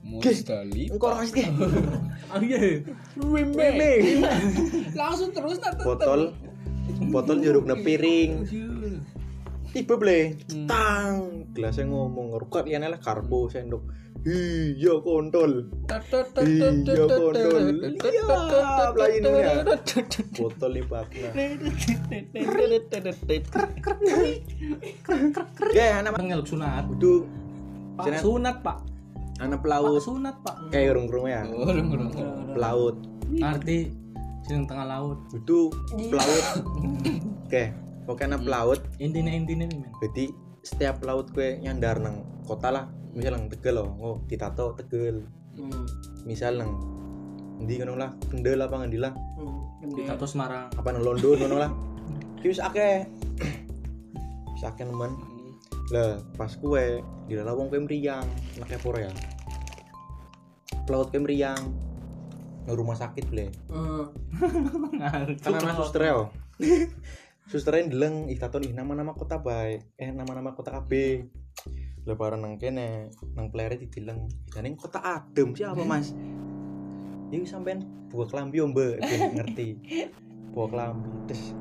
Speaker 3: Mustali.
Speaker 1: Engkau orang sih,
Speaker 2: Ah iya.
Speaker 3: Langsung terus nah tetep.
Speaker 1: botol, botol jeruk piring, tiba ble
Speaker 3: Hmm.
Speaker 1: tang gelasnya ngomong rukat ya lah karbo sendok iya kontol iya kontol iya lain ya botol lipat ya anak
Speaker 2: Ngelok sunat.
Speaker 1: kudu
Speaker 2: Pak
Speaker 1: Sunat.
Speaker 2: sunat, Oh. Pak.
Speaker 1: anak
Speaker 2: Pak
Speaker 1: pelaut
Speaker 2: sunat, Pak.
Speaker 1: kayak urung urung ya
Speaker 3: Oh, dong, dong.
Speaker 1: pelaut
Speaker 2: Arti sing tengah laut.
Speaker 1: kudu pelaut oke pokoknya anak pelaut
Speaker 2: Intinya-intinya nih, men.
Speaker 1: jadi setiap pelaut kue nyandar nang kota lah misal nang tegel loh oh ditato tegel
Speaker 5: Hmm,
Speaker 1: misal nang di ngono lah kendel apa ngendi lah
Speaker 5: hmm,
Speaker 2: Di
Speaker 5: bener.
Speaker 2: Tato Semarang.
Speaker 1: apa nang London ngono lah Ki wis akeh [COUGHS] wis akeh nemen lah pas kue di dalam wong kue meriang naknya pura ya pelaut kue meriang nang rumah sakit ble
Speaker 5: Hmm.
Speaker 1: kan anak suster ya [LAUGHS] oh. susternya ndeleng ih taton ih nama-nama kota bae eh nama-nama kota KB lebaran nang kene nang player dideleng dan yang kota adem siapa mas ini sampean buah kelambi om mbak ben ngerti buah kelambi terus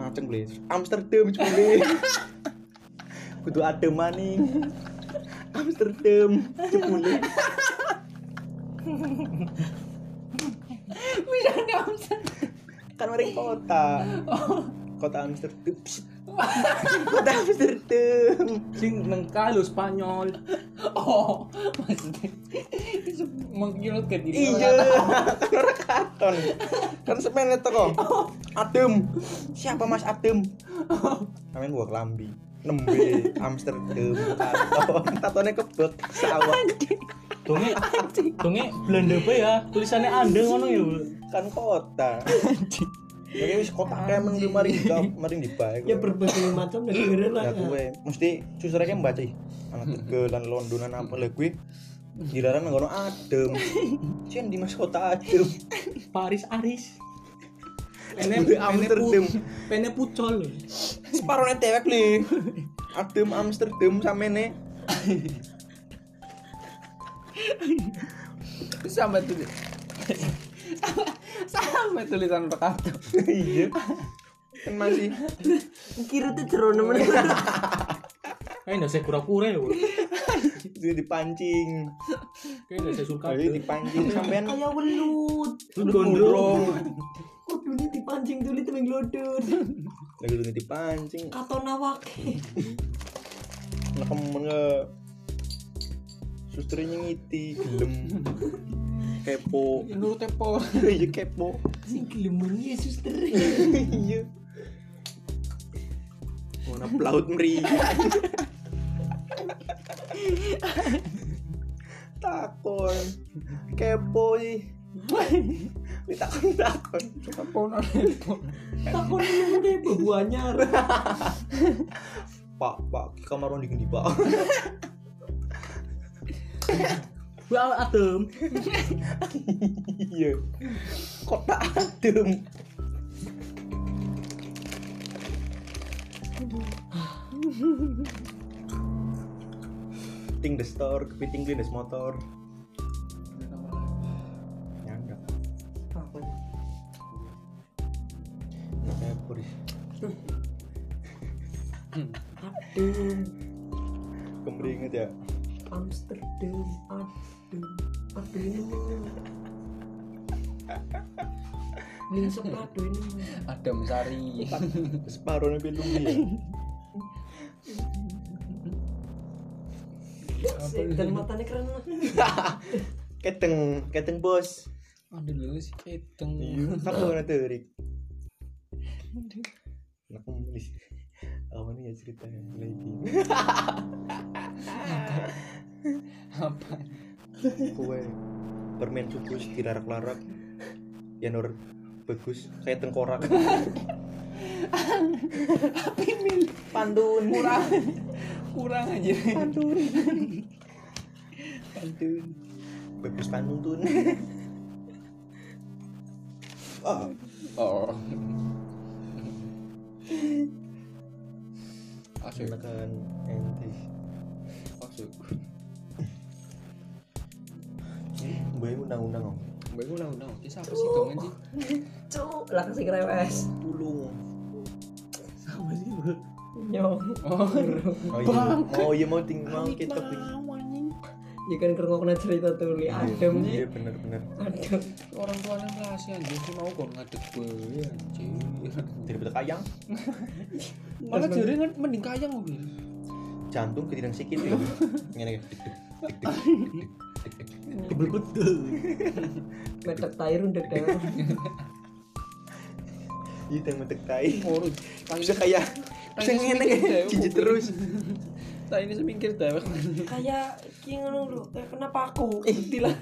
Speaker 1: ngaceng beli Terus Amsterdam jebule kudu adem maning Amsterdam jebule kan mari kota kota Amsterdam Psst. [LAUGHS] kota Amsterdam
Speaker 2: Sing nang kalu [LAUGHS] Spanyol.
Speaker 3: Oh, maksudnya itu mengkilat ke diri
Speaker 1: iya [LAUGHS] kan orang katon kan semen itu kok adem siapa mas adem namanya gua kelambi nembe Amsterdam katon katonnya kebet sawah
Speaker 2: Donge donge Belanda apa ya? Tulisannya Anda ngono ya. Bu.
Speaker 1: kan kota Oke, wis kota kayak mending mari juga mari dibaik.
Speaker 5: Ya berbagai macam negara lah.
Speaker 1: ya
Speaker 5: ya.
Speaker 1: gue mesti susahnya kan baca ih. anak tegelan londonan apa lah gue dilarang nggak adem
Speaker 3: [LAUGHS]
Speaker 1: cian di mas kota adem
Speaker 2: Paris Aris.
Speaker 1: Ene- Gue Amsterdam.
Speaker 2: Pene pucol.
Speaker 1: separuhnya tewek li adem Amsterdam e. sama ini
Speaker 3: sama tulis sama tulisan perkata
Speaker 1: iya kan masih
Speaker 5: Kira tuh jerone meneh.
Speaker 2: Eh ndak saya kura-kura ya. Bu.
Speaker 1: itu dipancing
Speaker 2: Kayak ndak saya suka.
Speaker 1: kali dipancing sampean
Speaker 5: Kayak welut.
Speaker 2: Lu gondrong.
Speaker 5: Kudune dipancing dulu temeng lodon.
Speaker 1: lagi dulu dipancing
Speaker 5: Katon awake.
Speaker 1: nekem nge susternya ngiti gelem kepo
Speaker 3: Nurut tepo.
Speaker 1: iya [LAUGHS] kepo
Speaker 5: Si gelemur ya suster.
Speaker 1: iya mana pelaut meri takon kepo sih ditakon takon
Speaker 3: Tepo nang tepo.
Speaker 5: Takon lu deh bebuanya.
Speaker 1: pak pak di kamar mandi di pak
Speaker 2: Wah, adem.
Speaker 1: iya kotak adem ting the store kepiting glindes motor Ya, nyanda
Speaker 5: Apa?
Speaker 1: kayak puris
Speaker 5: Adem,
Speaker 1: kembali inget ya
Speaker 5: Amsterdam, adem, adem. Lingsep adem.
Speaker 3: Adam
Speaker 1: [LAUGHS]
Speaker 3: Sari.
Speaker 1: separuh nabi lumi ya
Speaker 5: Dan matanya keren lah.
Speaker 1: keteng keteng bos
Speaker 3: Aduh lu sih keteng.
Speaker 1: iya aku mana tuh [LAUGHS] Rick aku nulis apa nih ya ceritanya lagi
Speaker 3: [LAUGHS] Apa?
Speaker 1: kue permen kukus dirarak-larak ya nur bagus kayak tengkorak pantun murah
Speaker 3: Kurang aja.
Speaker 1: pantun bagus pantun
Speaker 3: [LAUGHS]
Speaker 1: tuh ah
Speaker 3: Oh. Asik,
Speaker 1: silakan ente
Speaker 3: asik.
Speaker 1: bayi undang-undang om
Speaker 3: Mbak gue ulang ulang. Kisah apa sih
Speaker 1: Oh.
Speaker 3: dongeng sih?
Speaker 5: Cuk, lah kasih kerewes.
Speaker 1: tulung
Speaker 2: Sama sih, Bu.
Speaker 5: Nyong.
Speaker 3: Oh,
Speaker 1: oh iya oh iya mau ting mau kita punya
Speaker 5: Ya kan kerengoknya cerita tuh li adem
Speaker 1: iya
Speaker 5: sih.
Speaker 1: bener-bener
Speaker 5: Adem.
Speaker 3: orang tuanya ngasih anjir sih mau kok ngadeg gue anjir.
Speaker 1: daripada kayang
Speaker 3: Malah jare kan mending kayang gue.
Speaker 1: jantung ketidang sikit [LAUGHS] ya ngene
Speaker 2: Tebel betul.
Speaker 5: Medek tai rundek deh.
Speaker 1: iya tembak tai
Speaker 3: Ora
Speaker 1: bisa kayak bisa ngene kayak jijik
Speaker 3: [LAUGHS]
Speaker 1: terus
Speaker 3: Tak ini semingkir dewek.
Speaker 5: Kayak ki ngono lho, kayak kenapa aku? Intilah.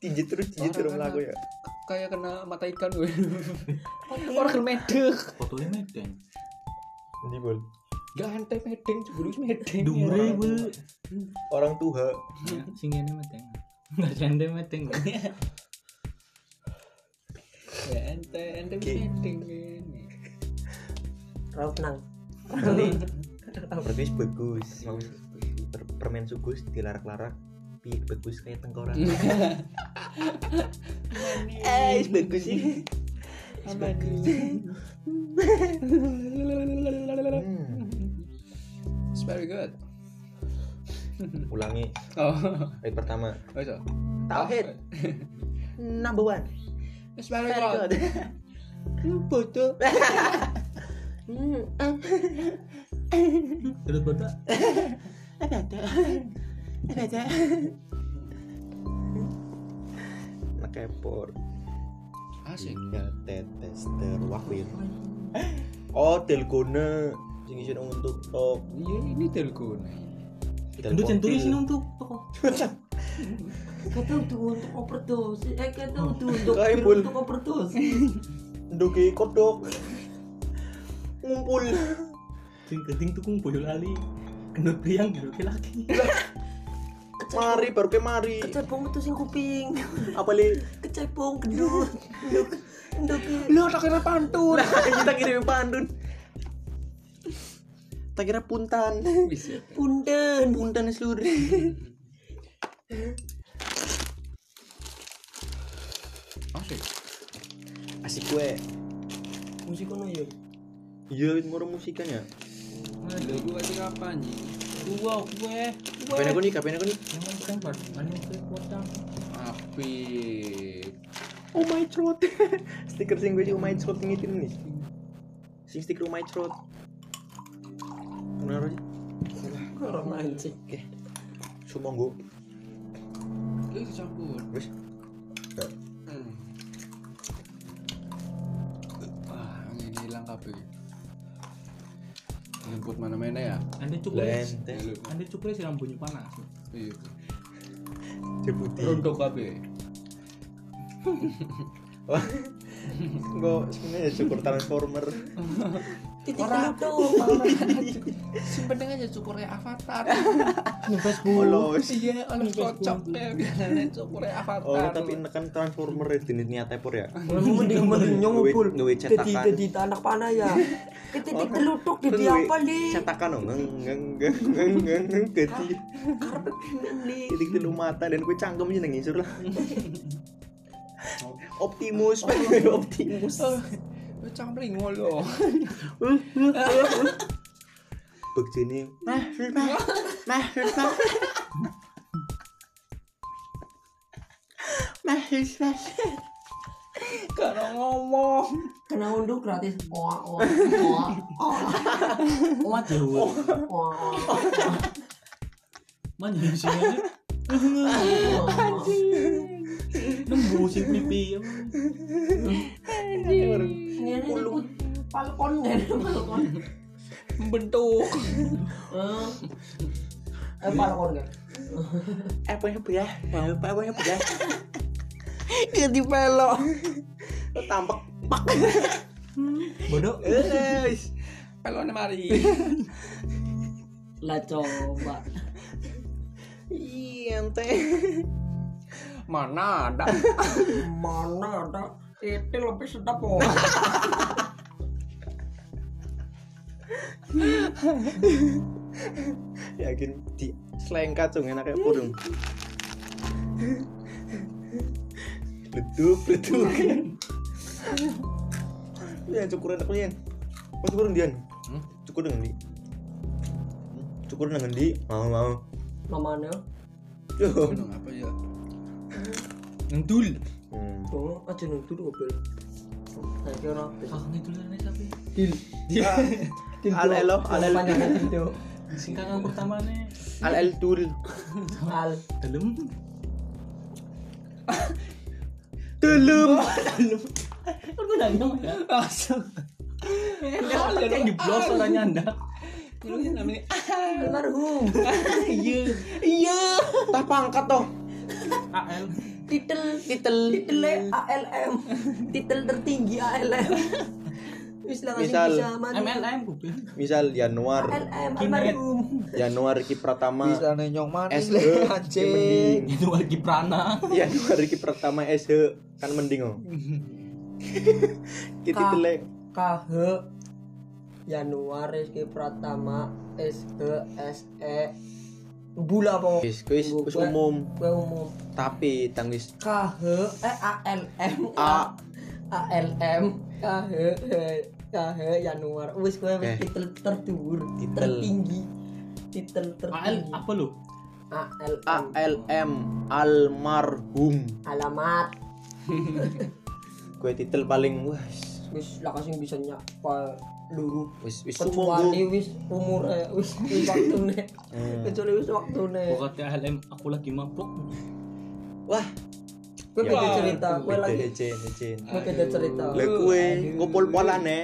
Speaker 1: jijik terus jijik terus
Speaker 3: Orang
Speaker 1: lagu ya
Speaker 3: Kayak kena mata ikan gue. Orang kena medek.
Speaker 6: Fotonya medeng.
Speaker 1: ini bol
Speaker 3: Gak ante medeng, jebul wis medeng. ya.
Speaker 6: Dure gue.
Speaker 1: orang tua
Speaker 2: Sing ngene meteng. Enggak jande meteng.
Speaker 3: Ya ente, ente wis
Speaker 1: Ki.
Speaker 3: medeng. ini.
Speaker 5: Rauf nang.
Speaker 1: berarti Iya, wis bagus Mau per- permen sugus dilarak-larak piye bagus kayak tengkorak [LAUGHS] eh wis bagus sih Hmm,
Speaker 3: [LAUGHS] It's very good.
Speaker 1: ulangi
Speaker 3: Oh, [LAUGHS]
Speaker 1: ayat pertama
Speaker 3: oh so.
Speaker 1: tauhid number one
Speaker 3: It's very
Speaker 1: Very
Speaker 3: good.
Speaker 1: good.
Speaker 3: [LAUGHS] Bodoh.
Speaker 2: Terus botak.
Speaker 1: Anak kepor
Speaker 3: Asik.
Speaker 1: tinggal Ya, tetes terwakil oh telgona sing isin untuk tok
Speaker 3: Iya, ini telkon.
Speaker 2: Gendut centuri sini untuk
Speaker 5: Kata udah untuk overdose. Eh kata udah untuk
Speaker 1: Kayak bul.
Speaker 5: untuk overdose.
Speaker 1: nduki kodok ngumpul
Speaker 2: sing geding tukung boyo lali. Gendut priang gendut laki.
Speaker 1: mari baru ke mari
Speaker 5: Kecepung itu sing kuping.
Speaker 1: apa li
Speaker 5: Kecepung gendut. Gendut. Gendut.
Speaker 1: lo tak kira pantun Eh, kita kira pantun tak kira puntan
Speaker 3: Wis ya.
Speaker 5: Punten.
Speaker 1: puntan seluruh
Speaker 3: Asik.
Speaker 1: asik gue
Speaker 5: Musik kono ya.
Speaker 1: iya ngurung musikan ya
Speaker 3: Lho, gue kasih kapan Ji?
Speaker 2: Wow, gue.
Speaker 1: kapan aku nih kapan aku nih
Speaker 2: Yang penting bar anu kuwi kota.
Speaker 3: Apik.
Speaker 1: oh my throat [LAUGHS] stiker sing gue sih oh my throat ngitin nih sing stiker oh my throat kenapa sih
Speaker 5: Romantis.
Speaker 1: Oke. Su sumpah gue
Speaker 3: Itu dicampur.
Speaker 1: Wis.
Speaker 3: Hmm. Wah, ini hilang kabeh. Lemput mana-mana ya?
Speaker 4: Anda cukres.
Speaker 1: lente
Speaker 4: Anda cukres yang bunyi panas.
Speaker 3: Iya.
Speaker 1: jebuti
Speaker 3: Rontok kabeh.
Speaker 1: gue sebenarnya ya syukur transformer
Speaker 5: Titik
Speaker 3: Orang-
Speaker 5: satu.
Speaker 3: Simpen aja cukurnya [LAUGHS] avatar.
Speaker 1: Oh, polos
Speaker 3: Iya, oleh kocok deh. Biasanya cukurnya avatar.
Speaker 1: oh tapi nekan transformer ya jenis niat tepor ya
Speaker 5: Kamu mending mending
Speaker 1: Ngewe-
Speaker 5: nyompul.
Speaker 1: ngewe
Speaker 5: Jadi
Speaker 1: cetakan.
Speaker 5: jadi tanah panah ya. Eh, Titik teluduk
Speaker 1: Kan
Speaker 5: jadi
Speaker 1: ngewe
Speaker 5: apa li?
Speaker 1: cetakan oh ngeng ngeng ngeng ngeng ngeng ngeng ganti
Speaker 5: Karena pengen li.
Speaker 1: titik telu mata dan gue cangkem aja nengisur
Speaker 5: [LAUGHS]
Speaker 1: lah Optimus,
Speaker 5: Oh, iya.
Speaker 1: [LAUGHS] Optimus.
Speaker 3: Oh, Lu cangkring ngolo.
Speaker 1: Begini,
Speaker 3: Karo ngomong.
Speaker 5: Kena unduh gratis. Oa oa oa oa
Speaker 4: Kuat ya,
Speaker 5: oa.
Speaker 4: Mana di sini aja? Nembusin pipi.
Speaker 5: Ini ini balkon deh balkon.
Speaker 3: Bentuk.
Speaker 5: Eh, Eh balkon kan.
Speaker 1: apa yang ya? Apa apa yang ya?
Speaker 3: Ganti pelok.
Speaker 1: Tampak pak.
Speaker 4: Bodoh.
Speaker 1: Guys,
Speaker 3: Peloknya mari.
Speaker 5: Lah coba.
Speaker 1: iya ente.
Speaker 3: Mana ada?
Speaker 5: Mana ada itu lebih sedap kok.
Speaker 1: [LAUGHS] Yakin di selain kacung enaknya purung. Letup, letup. Ya cukur enak lian. Mau cukur dengan Dian? Cukur dengan di. Cukur dengan di. Mau mau.
Speaker 5: Namanya
Speaker 1: Yo.
Speaker 3: Ngomong apa ya? Ngendul.
Speaker 1: Hmm.
Speaker 5: Oh, aja nunggu dulu mobil. Saya kira habis.
Speaker 4: Kakak itu Ah, lah nih tapi.
Speaker 1: Al elo, al el,
Speaker 5: Panjangan itu.
Speaker 4: Singkatan pertama nih.
Speaker 1: al el tul.
Speaker 5: Al.
Speaker 4: Dalam. [LAUGHS]
Speaker 1: Tulum.
Speaker 4: Kan gue nanya Mas, ya. Langsung. Ada yang diblos orangnya anda.
Speaker 3: Dulu yang namanya
Speaker 5: Almarhum.
Speaker 4: Iya.
Speaker 1: Iya. Tah pangkat toh.
Speaker 4: AL.
Speaker 5: Titel, titel, titel ALM. Titel tertinggi ALM. Wis lah kasih
Speaker 1: Misal.
Speaker 5: bisa mandi.
Speaker 4: MLM gue bilang.
Speaker 1: Misal Januar,
Speaker 5: ALM almarhum.
Speaker 1: Januar Ki Pratama.
Speaker 3: bisa nenyong manis
Speaker 1: SE anjing.
Speaker 4: Itu lagi prana.
Speaker 1: Januari ki Iya, pertama SH kan mending [LAUGHS] oh. Kita
Speaker 5: Ka-
Speaker 1: telek
Speaker 5: KH Januar Rizky Pratama SG SE E. Bula apa?
Speaker 1: wis wis wis umum
Speaker 5: Gue umum
Speaker 1: tapi tangis
Speaker 5: KH eh ALM
Speaker 1: A.
Speaker 5: ALM KH eh, KH Januar wis gue
Speaker 1: Eh.
Speaker 5: titel terdur
Speaker 1: Titel.
Speaker 5: tertinggi titel
Speaker 4: AL
Speaker 5: tertinggi
Speaker 4: apa lu?
Speaker 5: ALM
Speaker 1: ALM almarhum.
Speaker 5: alamat
Speaker 1: Gue titel paling wis
Speaker 5: wis lah kasih bisa nyapa luruh
Speaker 1: wis Eh. wis umum.
Speaker 5: kecuali
Speaker 1: gue.
Speaker 5: wis umurnya wis wis
Speaker 1: [LAUGHS]
Speaker 5: waktune kecuali wis waktune
Speaker 4: Bukan ALM. Aku lagi mabok.
Speaker 1: Wah,
Speaker 5: gue
Speaker 1: Ya.
Speaker 5: beda cerita gue lagi
Speaker 1: ecen ecen.
Speaker 5: gue beda cerita
Speaker 1: Lah gue ngopol-polane.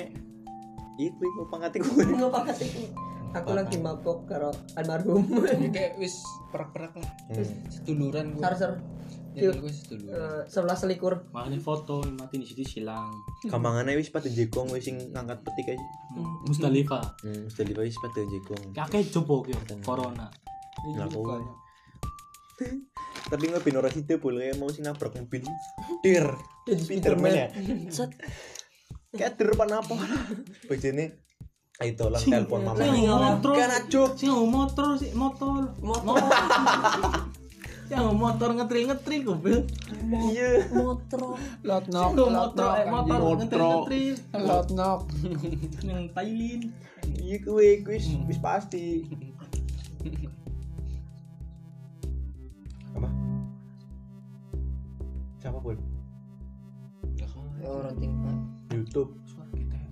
Speaker 1: Iku iku pangkat gue.
Speaker 5: gue pakai tiku aku lagi mabok karo
Speaker 1: [LAUGHS]
Speaker 5: almarhum
Speaker 3: kayak wis perak-perak lah.
Speaker 1: Hmm.
Speaker 3: Seduluran gua.
Speaker 5: sar-sar
Speaker 3: Nyentil gua seduluran.
Speaker 5: eh, sebelah selikur
Speaker 4: Makanya foto mati di situ silang.
Speaker 1: Kamangane wis pada jekong wis sing ngangkat petik aja.
Speaker 4: Musdalifah.
Speaker 1: Hmm, sudah di wis pada jekong.
Speaker 4: Kakek jopo kyo. Corona.
Speaker 1: Lah kowe. Tapi gue binora situ boleh mau sih nabrak mobil. Dir.
Speaker 5: jadi
Speaker 1: Spiderman ya.
Speaker 5: Spiderman
Speaker 1: Set. Kayak dir apa? [LAUGHS] iya. Bojone ayo tolong telepon mama.
Speaker 4: Sing motor.
Speaker 1: Kan acuk.
Speaker 4: Sing motor sih motor. Motor. Sing motor ngetril-ngetril gue.
Speaker 1: Iya.
Speaker 5: motro
Speaker 3: Lot
Speaker 4: Sing motor
Speaker 2: kan,
Speaker 4: eh
Speaker 2: iya.
Speaker 4: motor ngetril-ngetril.
Speaker 3: Lot knock.
Speaker 4: Yang Thailand.
Speaker 1: Iya kowe wis wis pasti. Apa? Siapa pun? Ya,
Speaker 5: orang tingkat
Speaker 1: YouTube.
Speaker 4: Suara kita.
Speaker 1: [LAUGHS]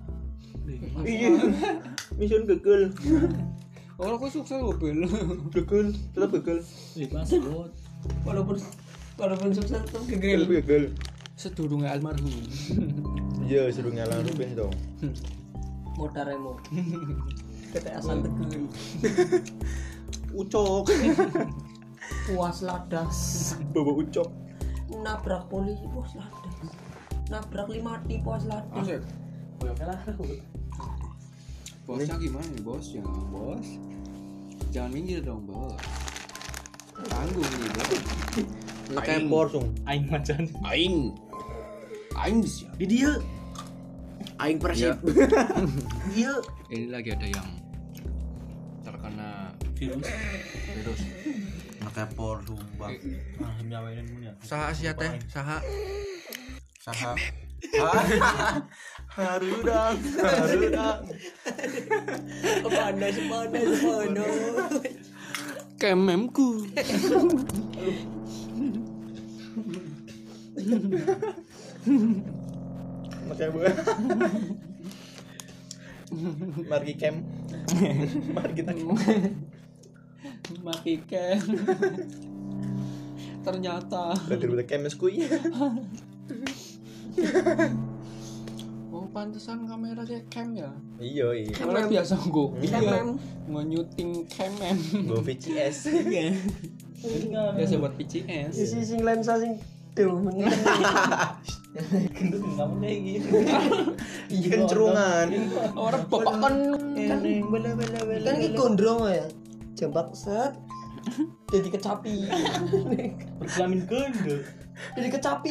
Speaker 1: Iya. Mission Google.
Speaker 3: Orang kok sukses mobil.
Speaker 1: Begul, tetap begul.
Speaker 4: Ih, Mas, bot.
Speaker 5: walaupun walaupun sukses tetap
Speaker 1: Tetap
Speaker 5: gagal
Speaker 1: begul.
Speaker 3: Sedurunge almarhum.
Speaker 1: Iya, suruh nyala rupiah dong. [LAUGHS]
Speaker 5: modaremu ketek asal tegel
Speaker 1: Ucok,
Speaker 5: puas ladas
Speaker 1: [LAUGHS] bawa ucok.
Speaker 5: nabrak polisi puas ladas nabrak lima di puas ladas
Speaker 3: Bos, Bosnya gimana nih bos? Ya bos. Jangan minggir dong bos. Tanggung nih bos.
Speaker 1: Kayak porsung.
Speaker 2: Aing macan.
Speaker 3: Aing. Aing siap. Iya.
Speaker 1: Di dia. Aing persib. Iya.
Speaker 3: Ini lagi ada yang terkena
Speaker 4: Virus.
Speaker 3: virus.
Speaker 1: Kayak porsung, bang.
Speaker 4: Ah, nyawainin mun ya.
Speaker 3: Saha sia teh? Saha?
Speaker 1: Saha. Harudang, harudang.
Speaker 5: panas panas panas
Speaker 3: Kememku.
Speaker 1: Makanya bu. Margi camp. [LAUGHS] Mari kita camp.
Speaker 3: Mati ken. Ternyata.
Speaker 1: Berarti udah camp mas kuy.
Speaker 3: Oh pantesan kamera kayak cam ya.
Speaker 1: Iya iya.
Speaker 3: Kamera biasa go.
Speaker 5: Kemem.
Speaker 3: Mau nyuting cam em.
Speaker 1: Gue VCS.
Speaker 3: Biasa buat PCS.
Speaker 5: sisi sing lensa sing duh mengen.
Speaker 2: Gendut kamu kayak gitu.
Speaker 1: Ikan cerungan.
Speaker 3: Orang bapak kan
Speaker 5: kan kan ki gondrong ya jembak set jadi kecapi
Speaker 2: Berkelamin gendut.
Speaker 5: jadi kecapi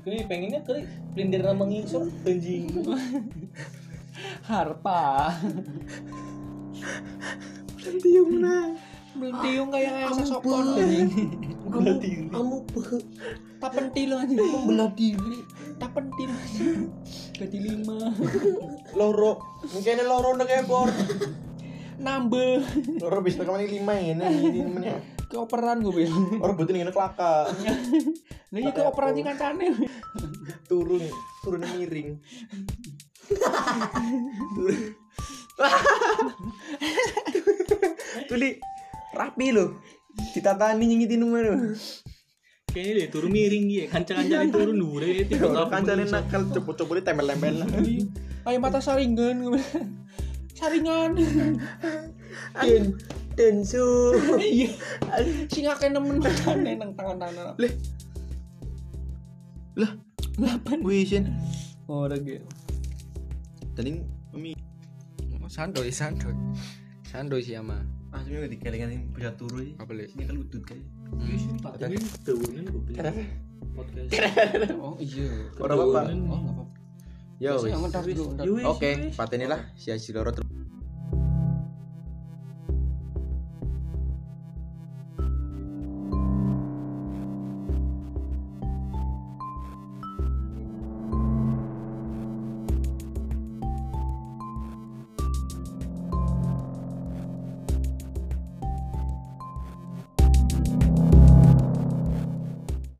Speaker 2: Gue pengennya kali pelintir sama ngisor anjing.
Speaker 3: harpa. Belum kayak yang sesokon
Speaker 5: kamu kamu be-
Speaker 3: Tak pentil aja
Speaker 5: membelah diri
Speaker 3: Tak pentil aja Jadi lima
Speaker 1: Loro. Mungkin loro udah kayak bor.
Speaker 3: Nambah
Speaker 1: Loro bisa kemana lima ini ini temennya.
Speaker 3: Keoperan gue bil
Speaker 1: Orang butuh nih kelaka.
Speaker 3: Lagi iya, keoperan sih kancane
Speaker 1: Turun turun miring. Turun. Tuli rapi loh. Ditatani nyengitin nomor lo.
Speaker 2: Kayaknya deh turun miring dia, kanca-kanca turun dure
Speaker 4: Iya,
Speaker 2: itu.
Speaker 1: Orang kancane nakal coba-coba di tempel-tempel.
Speaker 3: Ayo mata saringan gue bilang. [LAUGHS] Saringan
Speaker 5: dan densu
Speaker 3: Iya Sing akeh nemen kancane nang tangan-tangan
Speaker 1: Lah,
Speaker 3: Lapan
Speaker 1: wih Shen. Oh,
Speaker 3: Orang gitu
Speaker 1: Tadi mami
Speaker 3: Sandoy sandoy Sandoy sih ama
Speaker 1: aslinya gak dikelingan ini bisa turun sih.
Speaker 3: Apa Hmm. boleh
Speaker 1: Ini kan udut kayak.
Speaker 3: Oh iya
Speaker 1: Orang apa?
Speaker 3: Oh nggak apa-apa
Speaker 1: Yo.
Speaker 3: Biasanya
Speaker 1: wis.
Speaker 3: ngedar dulu ngedar.
Speaker 1: Oke, patenilah si Aji Loro terus.